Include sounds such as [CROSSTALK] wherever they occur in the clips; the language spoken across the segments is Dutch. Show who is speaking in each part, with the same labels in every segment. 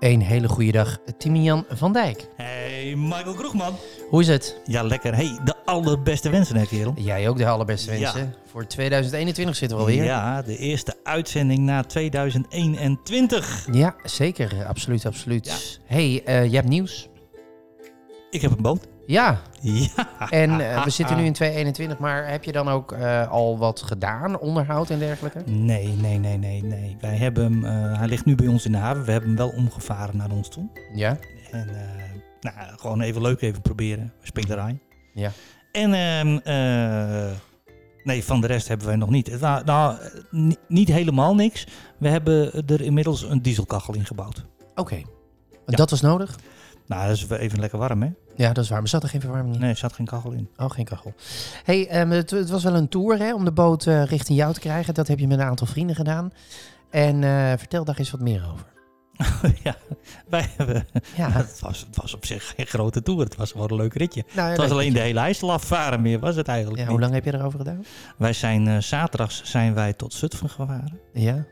Speaker 1: Een hele goede dag, Timian van Dijk.
Speaker 2: Hey, Michael Kroegman.
Speaker 1: Hoe is het?
Speaker 2: Ja, lekker. Hey, de allerbeste wensen, hè, kerel.
Speaker 1: Jij ook de allerbeste wensen. Voor 2021 zitten we alweer.
Speaker 2: Ja, de eerste uitzending na 2021.
Speaker 1: Ja, zeker. Absoluut, absoluut. hey, eh, je hebt nieuws.
Speaker 2: Ik heb een boot.
Speaker 1: Ja,
Speaker 2: Ja.
Speaker 1: en
Speaker 2: ah,
Speaker 1: eh, we zitten nu in 2021, maar heb je dan ook eh, al wat gedaan, onderhoud en dergelijke?
Speaker 2: Nee, nee, nee, nee, nee. Wij hebben hem, eh, hij ligt nu bij ons in de haven. We hebben hem wel omgevaren naar ons toe.
Speaker 1: Ja.
Speaker 2: En eh, nou, gewoon even leuk even proberen. Spinkerij.
Speaker 1: Ja.
Speaker 2: En ehm, eh, nee, van de rest hebben wij nog niet. Het wa- nou, eh, ni- niet helemaal niks. We hebben er inmiddels een dieselkachel in gebouwd.
Speaker 1: Oké.
Speaker 2: Ja.
Speaker 1: Dat was nodig?
Speaker 2: Nou, dat is wel even lekker warm, hè?
Speaker 1: Ja, dat is waar. Maar zat er geen verwarming in?
Speaker 2: Nee, er zat geen kachel in.
Speaker 1: Oh, geen kachel. hey, ehm, het, het was wel een tour hè, om de boot eh, richting jou te krijgen. Dat heb je met een aantal vrienden gedaan. En eh, vertel daar eens wat meer over.
Speaker 2: [LAUGHS] ja, wij hebben. [LAUGHS]
Speaker 1: Ja,
Speaker 2: Het was, het was op zich geen grote tour. Het was wel een leuk ritje.
Speaker 1: nou,
Speaker 2: Het
Speaker 1: leuk.
Speaker 2: was alleen de hele IJssel afvaren meer, was het eigenlijk.
Speaker 1: Ja,
Speaker 2: niet.
Speaker 1: hoe lang heb je erover gedaan?
Speaker 2: Wij zijn eh, zaterdags zijn wij tot Zutphen gevaren.
Speaker 1: Ja.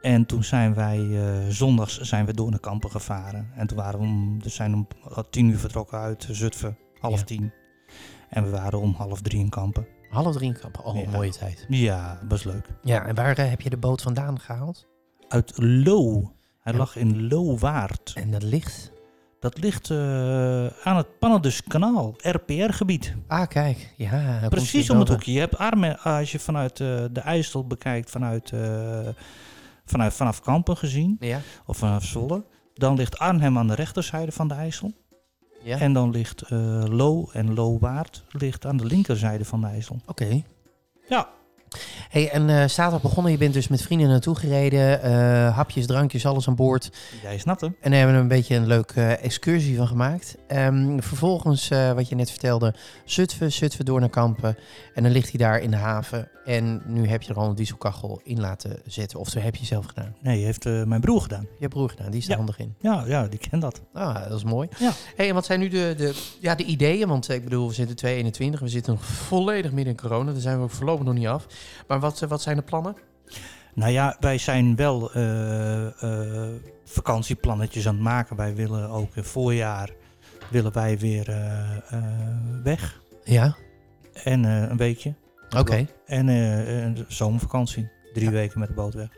Speaker 2: En toen zijn wij eh, zondags zijn we door naar Kampen gevaren. En toen waren we om, we zijn om tien uur vertrokken uit Zutphen, half
Speaker 1: Ja.
Speaker 2: tien. En we waren om half drie in Kampen.
Speaker 1: Half drie in kamp. Oh,
Speaker 2: Ja.
Speaker 1: mooie tijd.
Speaker 2: Ja, best leuk.
Speaker 1: Ja, en waar eh, heb je de boot vandaan gehaald?
Speaker 2: Uit Lo. Hij
Speaker 1: Ja.
Speaker 2: lag in Lowaard.
Speaker 1: En dat ligt.
Speaker 2: Dat ligt eh, aan het Panneduskanaal, RPR-gebied.
Speaker 1: Ah, kijk. Ja, hij komt
Speaker 2: Precies
Speaker 1: weer
Speaker 2: om het
Speaker 1: boven.
Speaker 2: hoekje. Je hebt Armen, als je vanuit eh, de IJssel bekijkt, vanuit, eh, vanuit, vanaf Kampen gezien,
Speaker 1: Ja.
Speaker 2: of vanaf Zwolle, dan ligt Arnhem aan de rechterzijde van de IJssel.
Speaker 1: ja.
Speaker 2: En dan ligt eh Lo en Lowaard ligt aan de linkerzijde van de IJssel.
Speaker 1: Oké.
Speaker 2: Ja.
Speaker 1: Hey, en eh, zaterdag begonnen, je bent dus met vrienden naartoe gereden. eh, hapjes, drankjes, alles aan boord.
Speaker 2: Jij snapt hem.
Speaker 1: En daar hebben we een beetje een leuke eh, excursie van gemaakt. Ehm, vervolgens, eh, wat je net vertelde, Zutphen, Zutphen door naar Kampen. En dan ligt hij daar in de haven. En nu heb je er al een dieselkachel in laten zetten. Of dat heb je zelf gedaan.
Speaker 2: Nee, heeft eh, mijn broer gedaan.
Speaker 1: Je broer gedaan, die is er
Speaker 2: Ja.
Speaker 1: handig in.
Speaker 2: Ja, ja, die kent dat.
Speaker 1: Ah, dat is mooi.
Speaker 2: Ja.
Speaker 1: Hey, en wat zijn nu de, de, ja, de ideeën? Want eh, ik bedoel, we zitten 2021, we zitten nog volledig midden in corona. Daar zijn we ook voorlopig nog niet af. Maar wat, eh, wat zijn de plannen?
Speaker 2: Nou ja, wij zijn wel eh, eh, vakantieplannetjes aan het maken. Wij willen ook in voorjaar willen wij weer eh, eh, weg.
Speaker 1: Ja,
Speaker 2: En eh, een weekje.
Speaker 1: oké.
Speaker 2: En eh, een zomervakantie. Drie
Speaker 1: Ja.
Speaker 2: weken met de boot weg.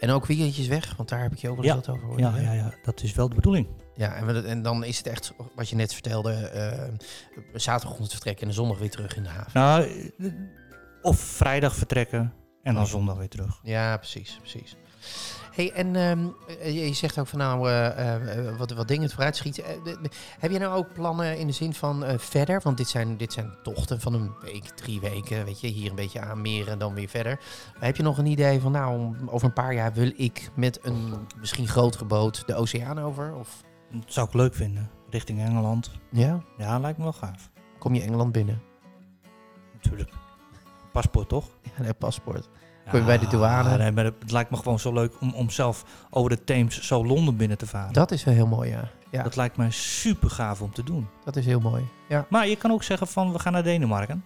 Speaker 1: En ook weekendjes weg, want daar heb ik je ook wel eens wat over gehoord.
Speaker 2: Ja, ja, ja, dat is wel de bedoeling.
Speaker 1: Ja, en, we- en dan is het echt, wat je net vertelde, eh, zaterdag ons vertrek en zondag weer terug in de haven.
Speaker 2: Nou, eh, of vrijdag vertrekken en dan zondag weer terug.
Speaker 1: Ja, precies, precies. hey, en ehm, eh, je zegt ook van nou, eh, eh, wat, wat dingen het vooruit schieten. Eh, de- de- heb je nou ook plannen in de zin van eh, verder? Want dit zijn, dit zijn tochten van een week, drie weken, weet je, hier een beetje aanmeren, dan weer verder. Maar heb je nog een idee van nou, om- over een paar jaar wil ik met een misschien grotere boot de oceaan over? Of,
Speaker 2: Dat zou ik leuk vinden. Richting Engeland.
Speaker 1: ja,
Speaker 2: Ja, lijkt me wel gaaf.
Speaker 1: kom je Engeland binnen?
Speaker 2: Natuurlijk. Paspoort toch?
Speaker 1: Ja, een paspoort. Kom je bij de douane?
Speaker 2: Ah, nee, maar het lijkt me gewoon zo leuk om, om zelf over de Theems zo Londen binnen te varen.
Speaker 1: Dat is wel heel mooi, ja. Ja,
Speaker 2: Dat lijkt mij super gaaf om te doen.
Speaker 1: dat is heel mooi. Ja,
Speaker 2: Maar je kan ook zeggen van we gaan naar Denemarken.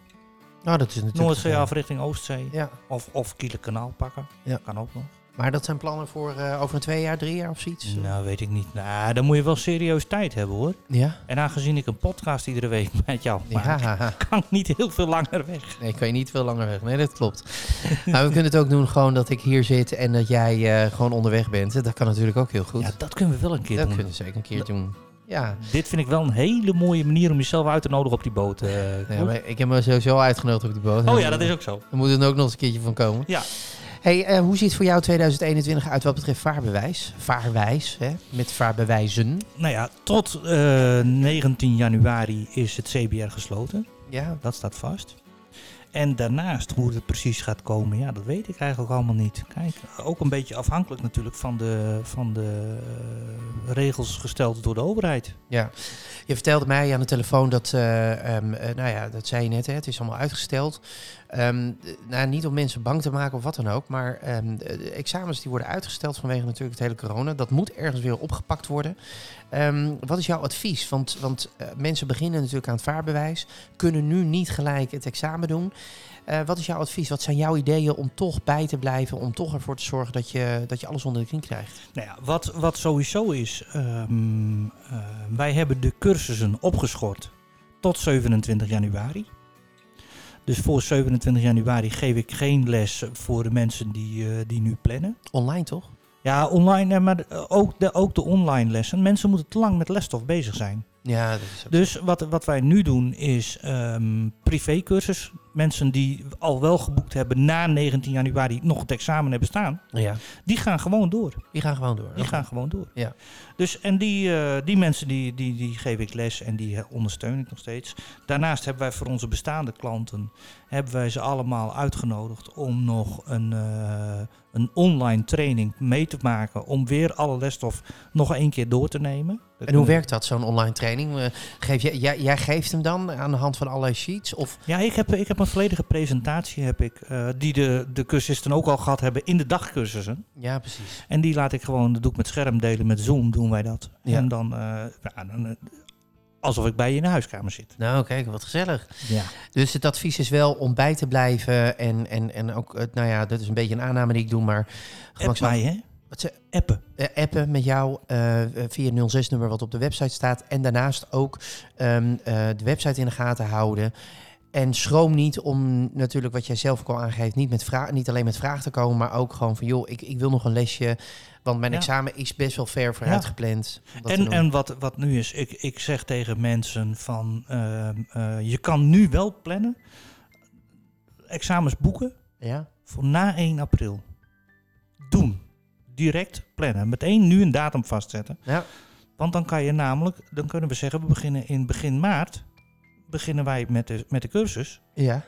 Speaker 1: nou, dat is natuurlijk...
Speaker 2: Noordzee
Speaker 1: eh,
Speaker 2: af richting Oostzee.
Speaker 1: Ja,
Speaker 2: Of, of Kielenkanaal pakken.
Speaker 1: Ja.
Speaker 2: Kan ook nog.
Speaker 1: maar dat zijn plannen voor eh, over een twee jaar, drie jaar of zoiets?
Speaker 2: Nou, weet ik niet. Nou, dan moet je wel serieus tijd hebben hoor.
Speaker 1: Ja?
Speaker 2: En aangezien ik een podcast iedere week [LAUGHS] met jou maak,
Speaker 1: Ja,
Speaker 2: kan ik niet heel veel langer weg.
Speaker 1: nee, kan je niet veel langer weg. Nee, dat
Speaker 2: [LAUGHS]
Speaker 1: klopt. maar we kunnen het ook doen gewoon dat ik hier zit en dat jij eh, gewoon onderweg bent. Dat kan natuurlijk ook heel goed.
Speaker 2: Ja, dat kunnen we wel een keer
Speaker 1: dat
Speaker 2: doen.
Speaker 1: kunnen we zeker een keer doen. Ja,
Speaker 2: Dit vind ik wel een hele mooie manier om jezelf uit te nodigen op die boot. eh,
Speaker 1: nee,
Speaker 2: Koen.
Speaker 1: maar ik heb me sowieso uitgenodigd op die boot.
Speaker 2: Oh ja, dat is ook zo.
Speaker 1: Er moet er ook nog eens een keertje van komen.
Speaker 2: Ja.
Speaker 1: Hey, eh, hoe ziet voor jou 2021 uit wat betreft vaarbewijs? Vaarwijs, hè? Met vaarbewijzen.
Speaker 2: Nou ja, tot eh, 19 januari is het CBR gesloten.
Speaker 1: Ja.
Speaker 2: Dat staat vast. En daarnaast, hoe het precies gaat komen, ja, dat weet ik eigenlijk allemaal niet. Kijk, ook een beetje afhankelijk natuurlijk van de, van de eh, regels gesteld door de overheid.
Speaker 1: Ja, je vertelde mij aan de telefoon dat, eh, ehm, eh, nou ja, dat zei je net, hè, het is allemaal uitgesteld. Ehm, eh, nou, niet om mensen bang te maken of wat dan ook, maar ehm, de de examens die worden uitgesteld vanwege natuurlijk het hele corona. Dat moet ergens weer opgepakt worden. Ehm, wat is jouw advies? Want, want eh, mensen beginnen natuurlijk aan het vaarbewijs, kunnen nu niet gelijk het examen doen. Eh, wat is jouw advies? Wat zijn jouw ideeën om toch bij te blijven, om toch ervoor te zorgen dat je, dat je alles onder de knie krijgt?
Speaker 2: Nou ja, wat, wat sowieso is, ehm, eh, wij hebben de cursussen opgeschort tot 27 januari. Dus voor 27 januari geef ik geen les voor de mensen die, eh, die nu plannen.
Speaker 1: Online toch?
Speaker 2: Ja, online, eh, maar eh, ook de, ook de online lessen. Mensen moeten te lang met lesstof bezig zijn.
Speaker 1: Ja, dat is ook
Speaker 2: Dus wat, wat wij nu doen is ehm privécursus. Mensen die al wel geboekt hebben na 19 januari nog het examen hebben staan,
Speaker 1: Ja,
Speaker 2: die gaan gewoon door.
Speaker 1: die gaan gewoon door.
Speaker 2: Die gaan gewoon door.
Speaker 1: Ja.
Speaker 2: Dus, en die, eh, die mensen die, die, die geef ik les en die eh, ondersteun ik nog steeds. Daarnaast hebben wij voor onze bestaande klanten hebben wij ze allemaal uitgenodigd om nog een, eh, een online training mee te maken. Om weer alle lesstof nog één keer door te nemen.
Speaker 1: En hoe werkt dat, zo'n online training? Eh, Geef jij, jij, jij geeft hem dan aan de hand van allerlei sheets? Of,
Speaker 2: Ja, ik heb, ik heb een volledige presentatie heb ik, eh, die de, de cursisten ook al gehad hebben in de dagcursussen.
Speaker 1: ja, precies.
Speaker 2: En die laat ik gewoon, dat doe ik met scherm delen, met Zoom doen wij dat.
Speaker 1: Ja.
Speaker 2: En dan, eh, ja, dan, eh, alsof ik bij je in de huiskamer zit.
Speaker 1: Nou, kijk, wat gezellig.
Speaker 2: Ja.
Speaker 1: Dus het advies is wel om bij te blijven. En, en, en ook, eh, nou ja, dat is een beetje een aanname die ik doe, maar
Speaker 2: App
Speaker 1: gemakshalve
Speaker 2: mij, hè?
Speaker 1: Wat ze-
Speaker 2: Appen.
Speaker 1: eh, appen met jou eh, via 06-nummer wat op de website staat. En daarnaast ook ehm, eh, de website in de gaten houden. En schroom niet om natuurlijk wat jij zelf ook al aangeeft, niet, met vra- niet alleen met vragen te komen, maar ook gewoon van joh, ik, ik wil nog een lesje, want mijn
Speaker 2: Ja.
Speaker 1: examen is best wel ver vooruit gepland. om dat te
Speaker 2: En,
Speaker 1: doen.
Speaker 2: en wat, wat nu is, ik, ik zeg tegen mensen van, ehm, eh, je kan nu wel plannen, examens boeken
Speaker 1: ja?
Speaker 2: voor na 1 april. Doen. Direct plannen. Meteen nu een datum vastzetten.
Speaker 1: Ja.
Speaker 2: Want dan kan je namelijk, dan kunnen we zeggen, we beginnen in begin maart, beginnen wij met de, met de cursus.
Speaker 1: Ja.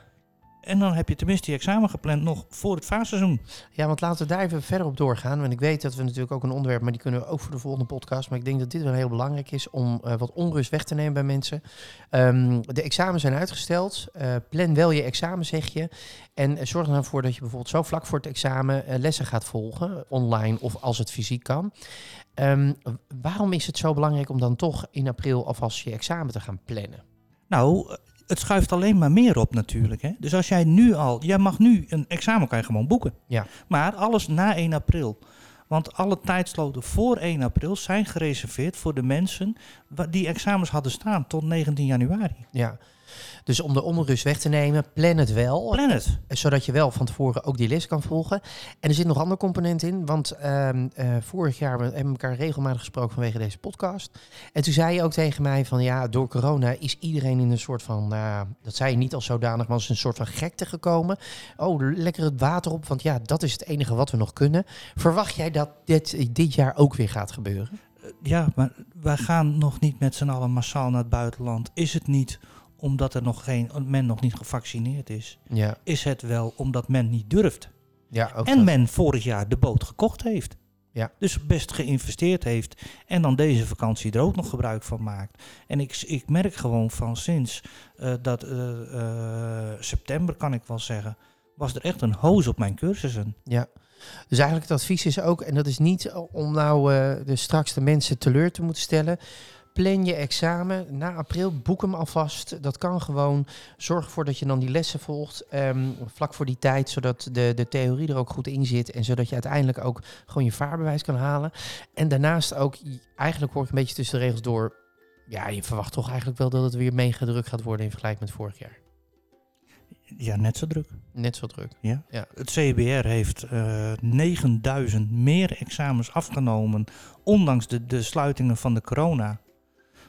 Speaker 2: En dan heb je tenminste die examen gepland nog voor het vaarseizoen.
Speaker 1: ja, want laten we daar even verder op doorgaan. Want ik weet dat we natuurlijk ook een onderwerp, maar die kunnen we ook voor de volgende podcast. Maar ik denk dat dit wel heel belangrijk is om eh, wat onrust weg te nemen bij mensen. Ehm, de examens zijn uitgesteld. Eh, plan wel je examen, zeg je. En eh, zorg er dan voor dat je bijvoorbeeld zo vlak voor het examen eh, lessen gaat volgen. Online of als het fysiek kan. Ehm, waarom is het zo belangrijk om dan toch in april alvast je examen te gaan plannen?
Speaker 2: Nou, het schuift alleen maar meer op natuurlijk. Hè? Dus als jij nu al, jij mag nu een examen kan je gewoon boeken.
Speaker 1: Ja.
Speaker 2: Maar alles na 1 april. Want alle tijdsloten voor 1 april zijn gereserveerd voor de mensen wa- die examens hadden staan tot 19 januari.
Speaker 1: Ja. Dus om de onrust weg te nemen, plan het wel.
Speaker 2: Plan het.
Speaker 1: zodat je wel van tevoren ook die les kan volgen. En er zit nog ander component in, want ehm, eh, vorig jaar we hebben we elkaar regelmatig gesproken vanwege deze podcast. En toen zei je ook tegen mij van ja, door corona is iedereen in een soort van, nou, dat zei je niet als zodanig, maar als een soort van gekte gekomen. Oh, lekker het water op, want ja, dat is het enige wat we nog kunnen. Verwacht jij dat dit, dit jaar ook weer gaat gebeuren?
Speaker 2: Ja, maar wij gaan nog niet met z'n allen massaal naar het buitenland. Is het niet omdat er nog geen, men nog niet gevaccineerd is?
Speaker 1: Ja,
Speaker 2: Is het wel omdat men niet durft?
Speaker 1: ja ook
Speaker 2: en men vorig jaar de boot gekocht heeft.
Speaker 1: Ja.
Speaker 2: Dus best geïnvesteerd heeft. En dan deze vakantie er ook nog gebruik van maakt. En ik, ik merk gewoon van sinds eh, dat eh, eh, september, kan ik wel zeggen, was er echt een hoos op mijn cursussen.
Speaker 1: Dus eigenlijk het advies is ook, en dat is niet om nou eh, de, straks de mensen teleur te moeten stellen. Plan je examen na april, boek hem alvast. Dat kan gewoon. Zorg ervoor dat je dan die lessen volgt ehm, vlak voor die tijd, zodat de, de theorie er ook goed in zit en zodat je uiteindelijk ook gewoon je vaarbewijs kan halen. En daarnaast ook, i- eigenlijk hoor ik een beetje tussen de regels door, ja, je verwacht toch eigenlijk wel dat het weer meegedrukt gaat worden in vergelijking met vorig jaar.
Speaker 2: Ja, net zo druk.
Speaker 1: Net zo druk.
Speaker 2: Het CBR heeft eh 9000 meer examens afgenomen, ondanks de, de sluitingen van de corona.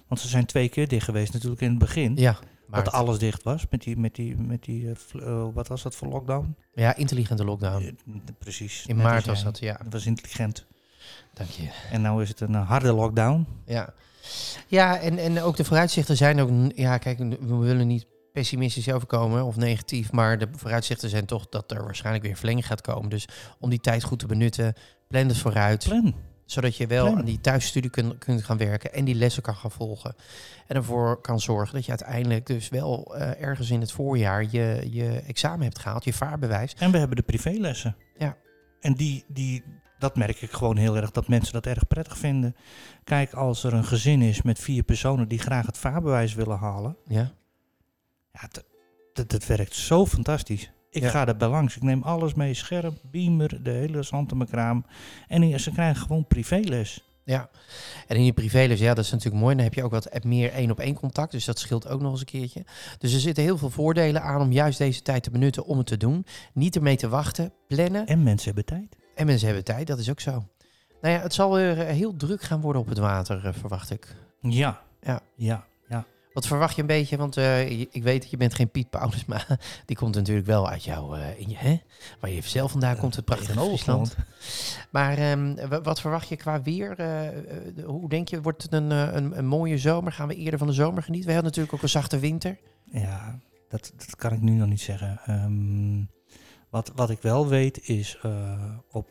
Speaker 2: Want ze zijn twee keer dicht geweest natuurlijk in het begin.
Speaker 1: Ja, maar
Speaker 2: dat alles dicht was met die, met die, met die eh, vl- eh, wat was dat voor lockdown?
Speaker 1: ja, intelligente lockdown.
Speaker 2: Eh, precies.
Speaker 1: In
Speaker 2: net als
Speaker 1: maart was
Speaker 2: jij.
Speaker 1: dat, ja.
Speaker 2: Dat was intelligent.
Speaker 1: Dank je.
Speaker 2: En nou is het een eh, harde lockdown.
Speaker 1: Ja, ja en, en ook de vooruitzichten zijn ook. n- Ja, kijk, n- we willen niet pessimistisch overkomen of negatief. Maar de vooruitzichten zijn toch dat er waarschijnlijk weer verlenging gaat komen. Dus om die tijd goed te benutten, plan het vooruit.
Speaker 2: Plan.
Speaker 1: zodat je wel
Speaker 2: Plan.
Speaker 1: aan die thuisstudie kun- kunt gaan werken en die lessen kan gaan volgen. En ervoor kan zorgen dat je uiteindelijk dus wel eh, ergens in het voorjaar je, je examen hebt gehaald, je vaarbewijs.
Speaker 2: En we hebben de privélessen.
Speaker 1: Ja.
Speaker 2: En die, die, dat merk ik gewoon heel erg, dat mensen dat erg prettig vinden. Kijk, als er een gezin is met vier personen die graag het vaarbewijs willen halen.
Speaker 1: Ja,
Speaker 2: Ja, dat- dat, dat werkt zo fantastisch. Ik
Speaker 1: Ja.
Speaker 2: ga daarbij langs. Ik neem alles mee. Scherp, beamer, de hele zantemekraam. En die- ze krijgen gewoon privéles.
Speaker 1: ja. En in je privéleven, ja, dat is natuurlijk mooi. Dan heb je ook wat meer één op één contact. Dus dat scheelt ook nog eens een keertje. Dus er zitten heel veel voordelen aan om juist deze tijd te benutten om het te doen. Niet ermee te wachten, plannen.
Speaker 2: En mensen hebben tijd.
Speaker 1: En mensen hebben tijd, dat is ook zo. Nou ja, het zal weer eh, heel druk gaan worden op het water, eh, verwacht ik.
Speaker 2: Ja.
Speaker 1: Ja.
Speaker 2: Ja. ja.
Speaker 1: Wat verwacht je een beetje? Want eh, je- ik weet dat je bent geen Piet Paulus, [LAUGHS] maar die komt natuurlijk wel uit jou. eh, in je, hè? Waar je zelf vandaan komt, het prachtige
Speaker 2: Tegenover
Speaker 1: Friesland.
Speaker 2: gewoon.
Speaker 1: Maar ehm, wa- wat verwacht je qua weer? Eh, eh, de- hoe denk je, wordt het een, eh, een, een mooie zomer? Gaan we eerder van de zomer genieten? We hadden natuurlijk ook een zachte winter.
Speaker 2: Ja, dat, dat kan ik nu nog niet zeggen. Ehm, wat, wat ik wel weet is eh, op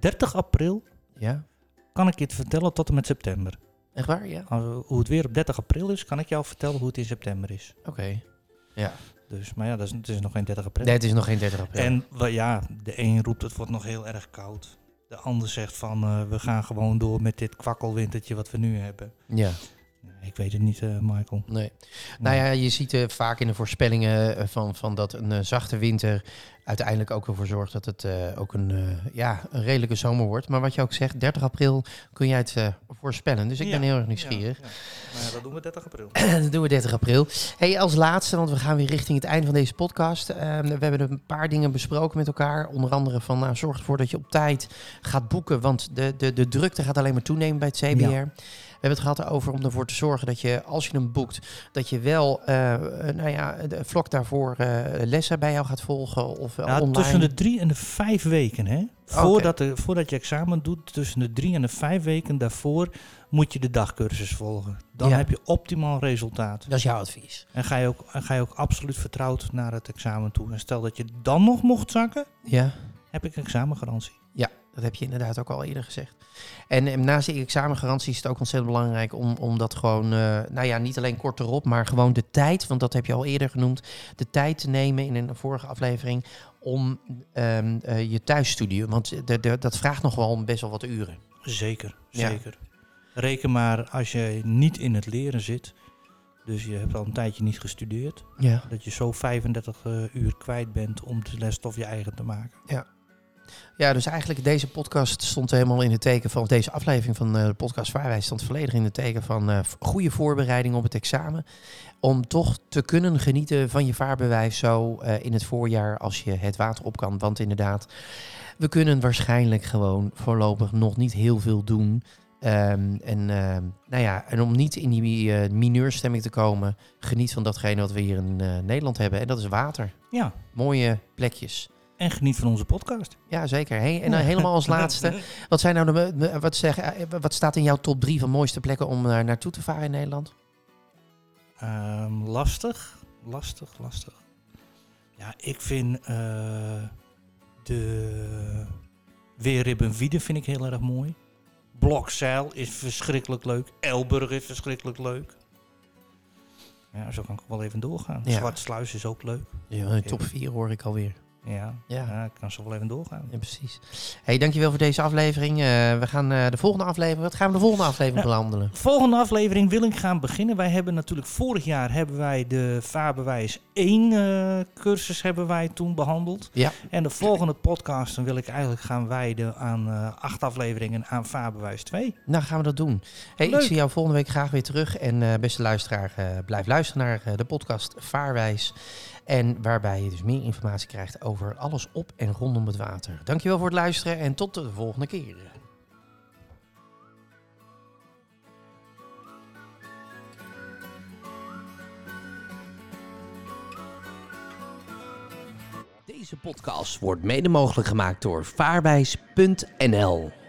Speaker 2: 30 april
Speaker 1: Ja,
Speaker 2: kan ik je het vertellen tot en met september.
Speaker 1: echt waar? Ja,
Speaker 2: Als- hoe het weer op 30 april is, kan ik jou vertellen hoe het in september is.
Speaker 1: oké.
Speaker 2: Dus, maar ja, dat is, het is nog geen 30 april.
Speaker 1: Nee, het is nog geen 30 april.
Speaker 2: En wa- ja, de een roept het wordt nog heel erg koud. De ander zegt van eh, we gaan gewoon door met dit kwakkelwintertje wat we nu hebben.
Speaker 1: Ja,
Speaker 2: Ik weet het niet, eh, Michael.
Speaker 1: nee. Nou ja, je ziet eh, vaak in de voorspellingen eh, van, van dat een eh, zachte winter uiteindelijk ook ervoor zorgt dat het eh, ook een, eh, ja, een redelijke zomer wordt. Maar wat je ook zegt, 30 april kun jij het eh, voorspellen. Dus ik ben
Speaker 2: Ja,
Speaker 1: heel erg nieuwsgierig.
Speaker 2: Ja, ja. Maar ja, dat doen we 30 april.
Speaker 1: [CLEARS THROAT] Dan doen we 30 april. Hey, als laatste, want we gaan weer richting het eind van deze podcast. Eh, we hebben een paar dingen besproken met elkaar. Onder andere van nou, zorg ervoor dat je op tijd gaat boeken. Want de, de, de drukte gaat alleen maar toenemen bij het CBR.
Speaker 2: Ja.
Speaker 1: We hebben het gehad over om ervoor te zorgen dat je, als je hem boekt, dat je wel eh, eh, nou ja, de, vlak daarvoor eh, lessen bij jou gaat volgen. Of wel
Speaker 2: Ja,
Speaker 1: online.
Speaker 2: tussen de drie en de vijf weken, hè? Voordat, de, voordat je examen doet, tussen de drie en de vijf weken daarvoor moet je de dagcursus volgen. Dan
Speaker 1: Ja.
Speaker 2: heb je optimaal resultaat.
Speaker 1: Dat is jouw advies.
Speaker 2: En ga, je ook, en ga je ook absoluut vertrouwd naar het examen toe. En stel dat je dan nog mocht zakken,
Speaker 1: Ja.
Speaker 2: heb ik examengarantie.
Speaker 1: Ja, dat heb je inderdaad ook al eerder gezegd. En, eh, naast die examengarantie is het ook ontzettend belangrijk om, om dat gewoon, eh, nou ja, niet alleen kort erop, maar gewoon de tijd, want dat heb je al eerder genoemd, de tijd te nemen in een vorige aflevering om ehm, eh, je thuisstudie, want de, de, dat vraagt nog wel best wel wat uren.
Speaker 2: Zeker,
Speaker 1: Ja.
Speaker 2: zeker. Reken maar als je niet in het leren zit, dus je hebt al een tijdje niet gestudeerd,
Speaker 1: Ja.
Speaker 2: dat je zo 35 eh, uur kwijt bent om de lesstof je eigen te maken.
Speaker 1: Ja, dus eigenlijk deze podcast stond helemaal in het teken van deze aflevering van eh, de podcast Vaarwijs stond volledig in het teken van eh, v- goede voorbereiding op het examen. Om toch te kunnen genieten van je vaarbewijs zo eh, in het voorjaar als je het water op kan. Want inderdaad, we kunnen waarschijnlijk gewoon voorlopig nog niet heel veel doen. Ehm, en, ehm, nou ja, en om niet in die eh, mineurstemming te komen, geniet van datgene wat we hier in eh, Nederland hebben. En dat is water.
Speaker 2: Ja,
Speaker 1: Mooie plekjes.
Speaker 2: en geniet van onze podcast.
Speaker 1: Ja, zeker. Hey, en dan helemaal
Speaker 2: [LAUGHS]
Speaker 1: [LAUGHS] als laatste. Wat, zijn nou de, de- wat, zeg, eh, wat staat in jouw top drie van mooiste plekken om daar naartoe te varen in Nederland?
Speaker 2: Ehm, lastig, lastig, lastig. Ja, ik vind eh, de Weerribbenwieden vind ik heel erg mooi. Blokzeil is verschrikkelijk leuk. Elburg is verschrikkelijk leuk. Ja, zo kan ik wel even doorgaan.
Speaker 1: Ja.
Speaker 2: Zwartsluis is ook leuk.
Speaker 1: Ja, top vier hoor ik alweer.
Speaker 2: Ja,
Speaker 1: Ja.
Speaker 2: ja. ik kan zo wel even doorgaan.
Speaker 1: Ja, precies. Hey, dankjewel voor deze aflevering. Eh, we gaan eh, de volgende aflevering. Wat gaan we de volgende [LAUGHS] aflevering behandelen?
Speaker 2: Volgende aflevering wil ik gaan beginnen. Wij hebben natuurlijk vorig jaar hebben wij de vaarbewijs 1 eh, cursus hebben wij toen behandeld.
Speaker 1: Ja.
Speaker 2: En de volgende podcast dan wil ik eigenlijk gaan wijden aan eh, acht afleveringen aan vaarbewijs 2.
Speaker 1: Nou, gaan we dat doen. Hey, ik
Speaker 2: Leuk.
Speaker 1: zie jou volgende week graag weer terug. En eh, beste luisteraar, eh, blijf luisteren naar eh, de podcast Vaarwijs. En waarbij je dus meer informatie krijgt over alles op en rondom het water. Dankjewel voor het luisteren en tot de volgende keer. Deze podcast wordt mede mogelijk gemaakt door vaarwijs.nl.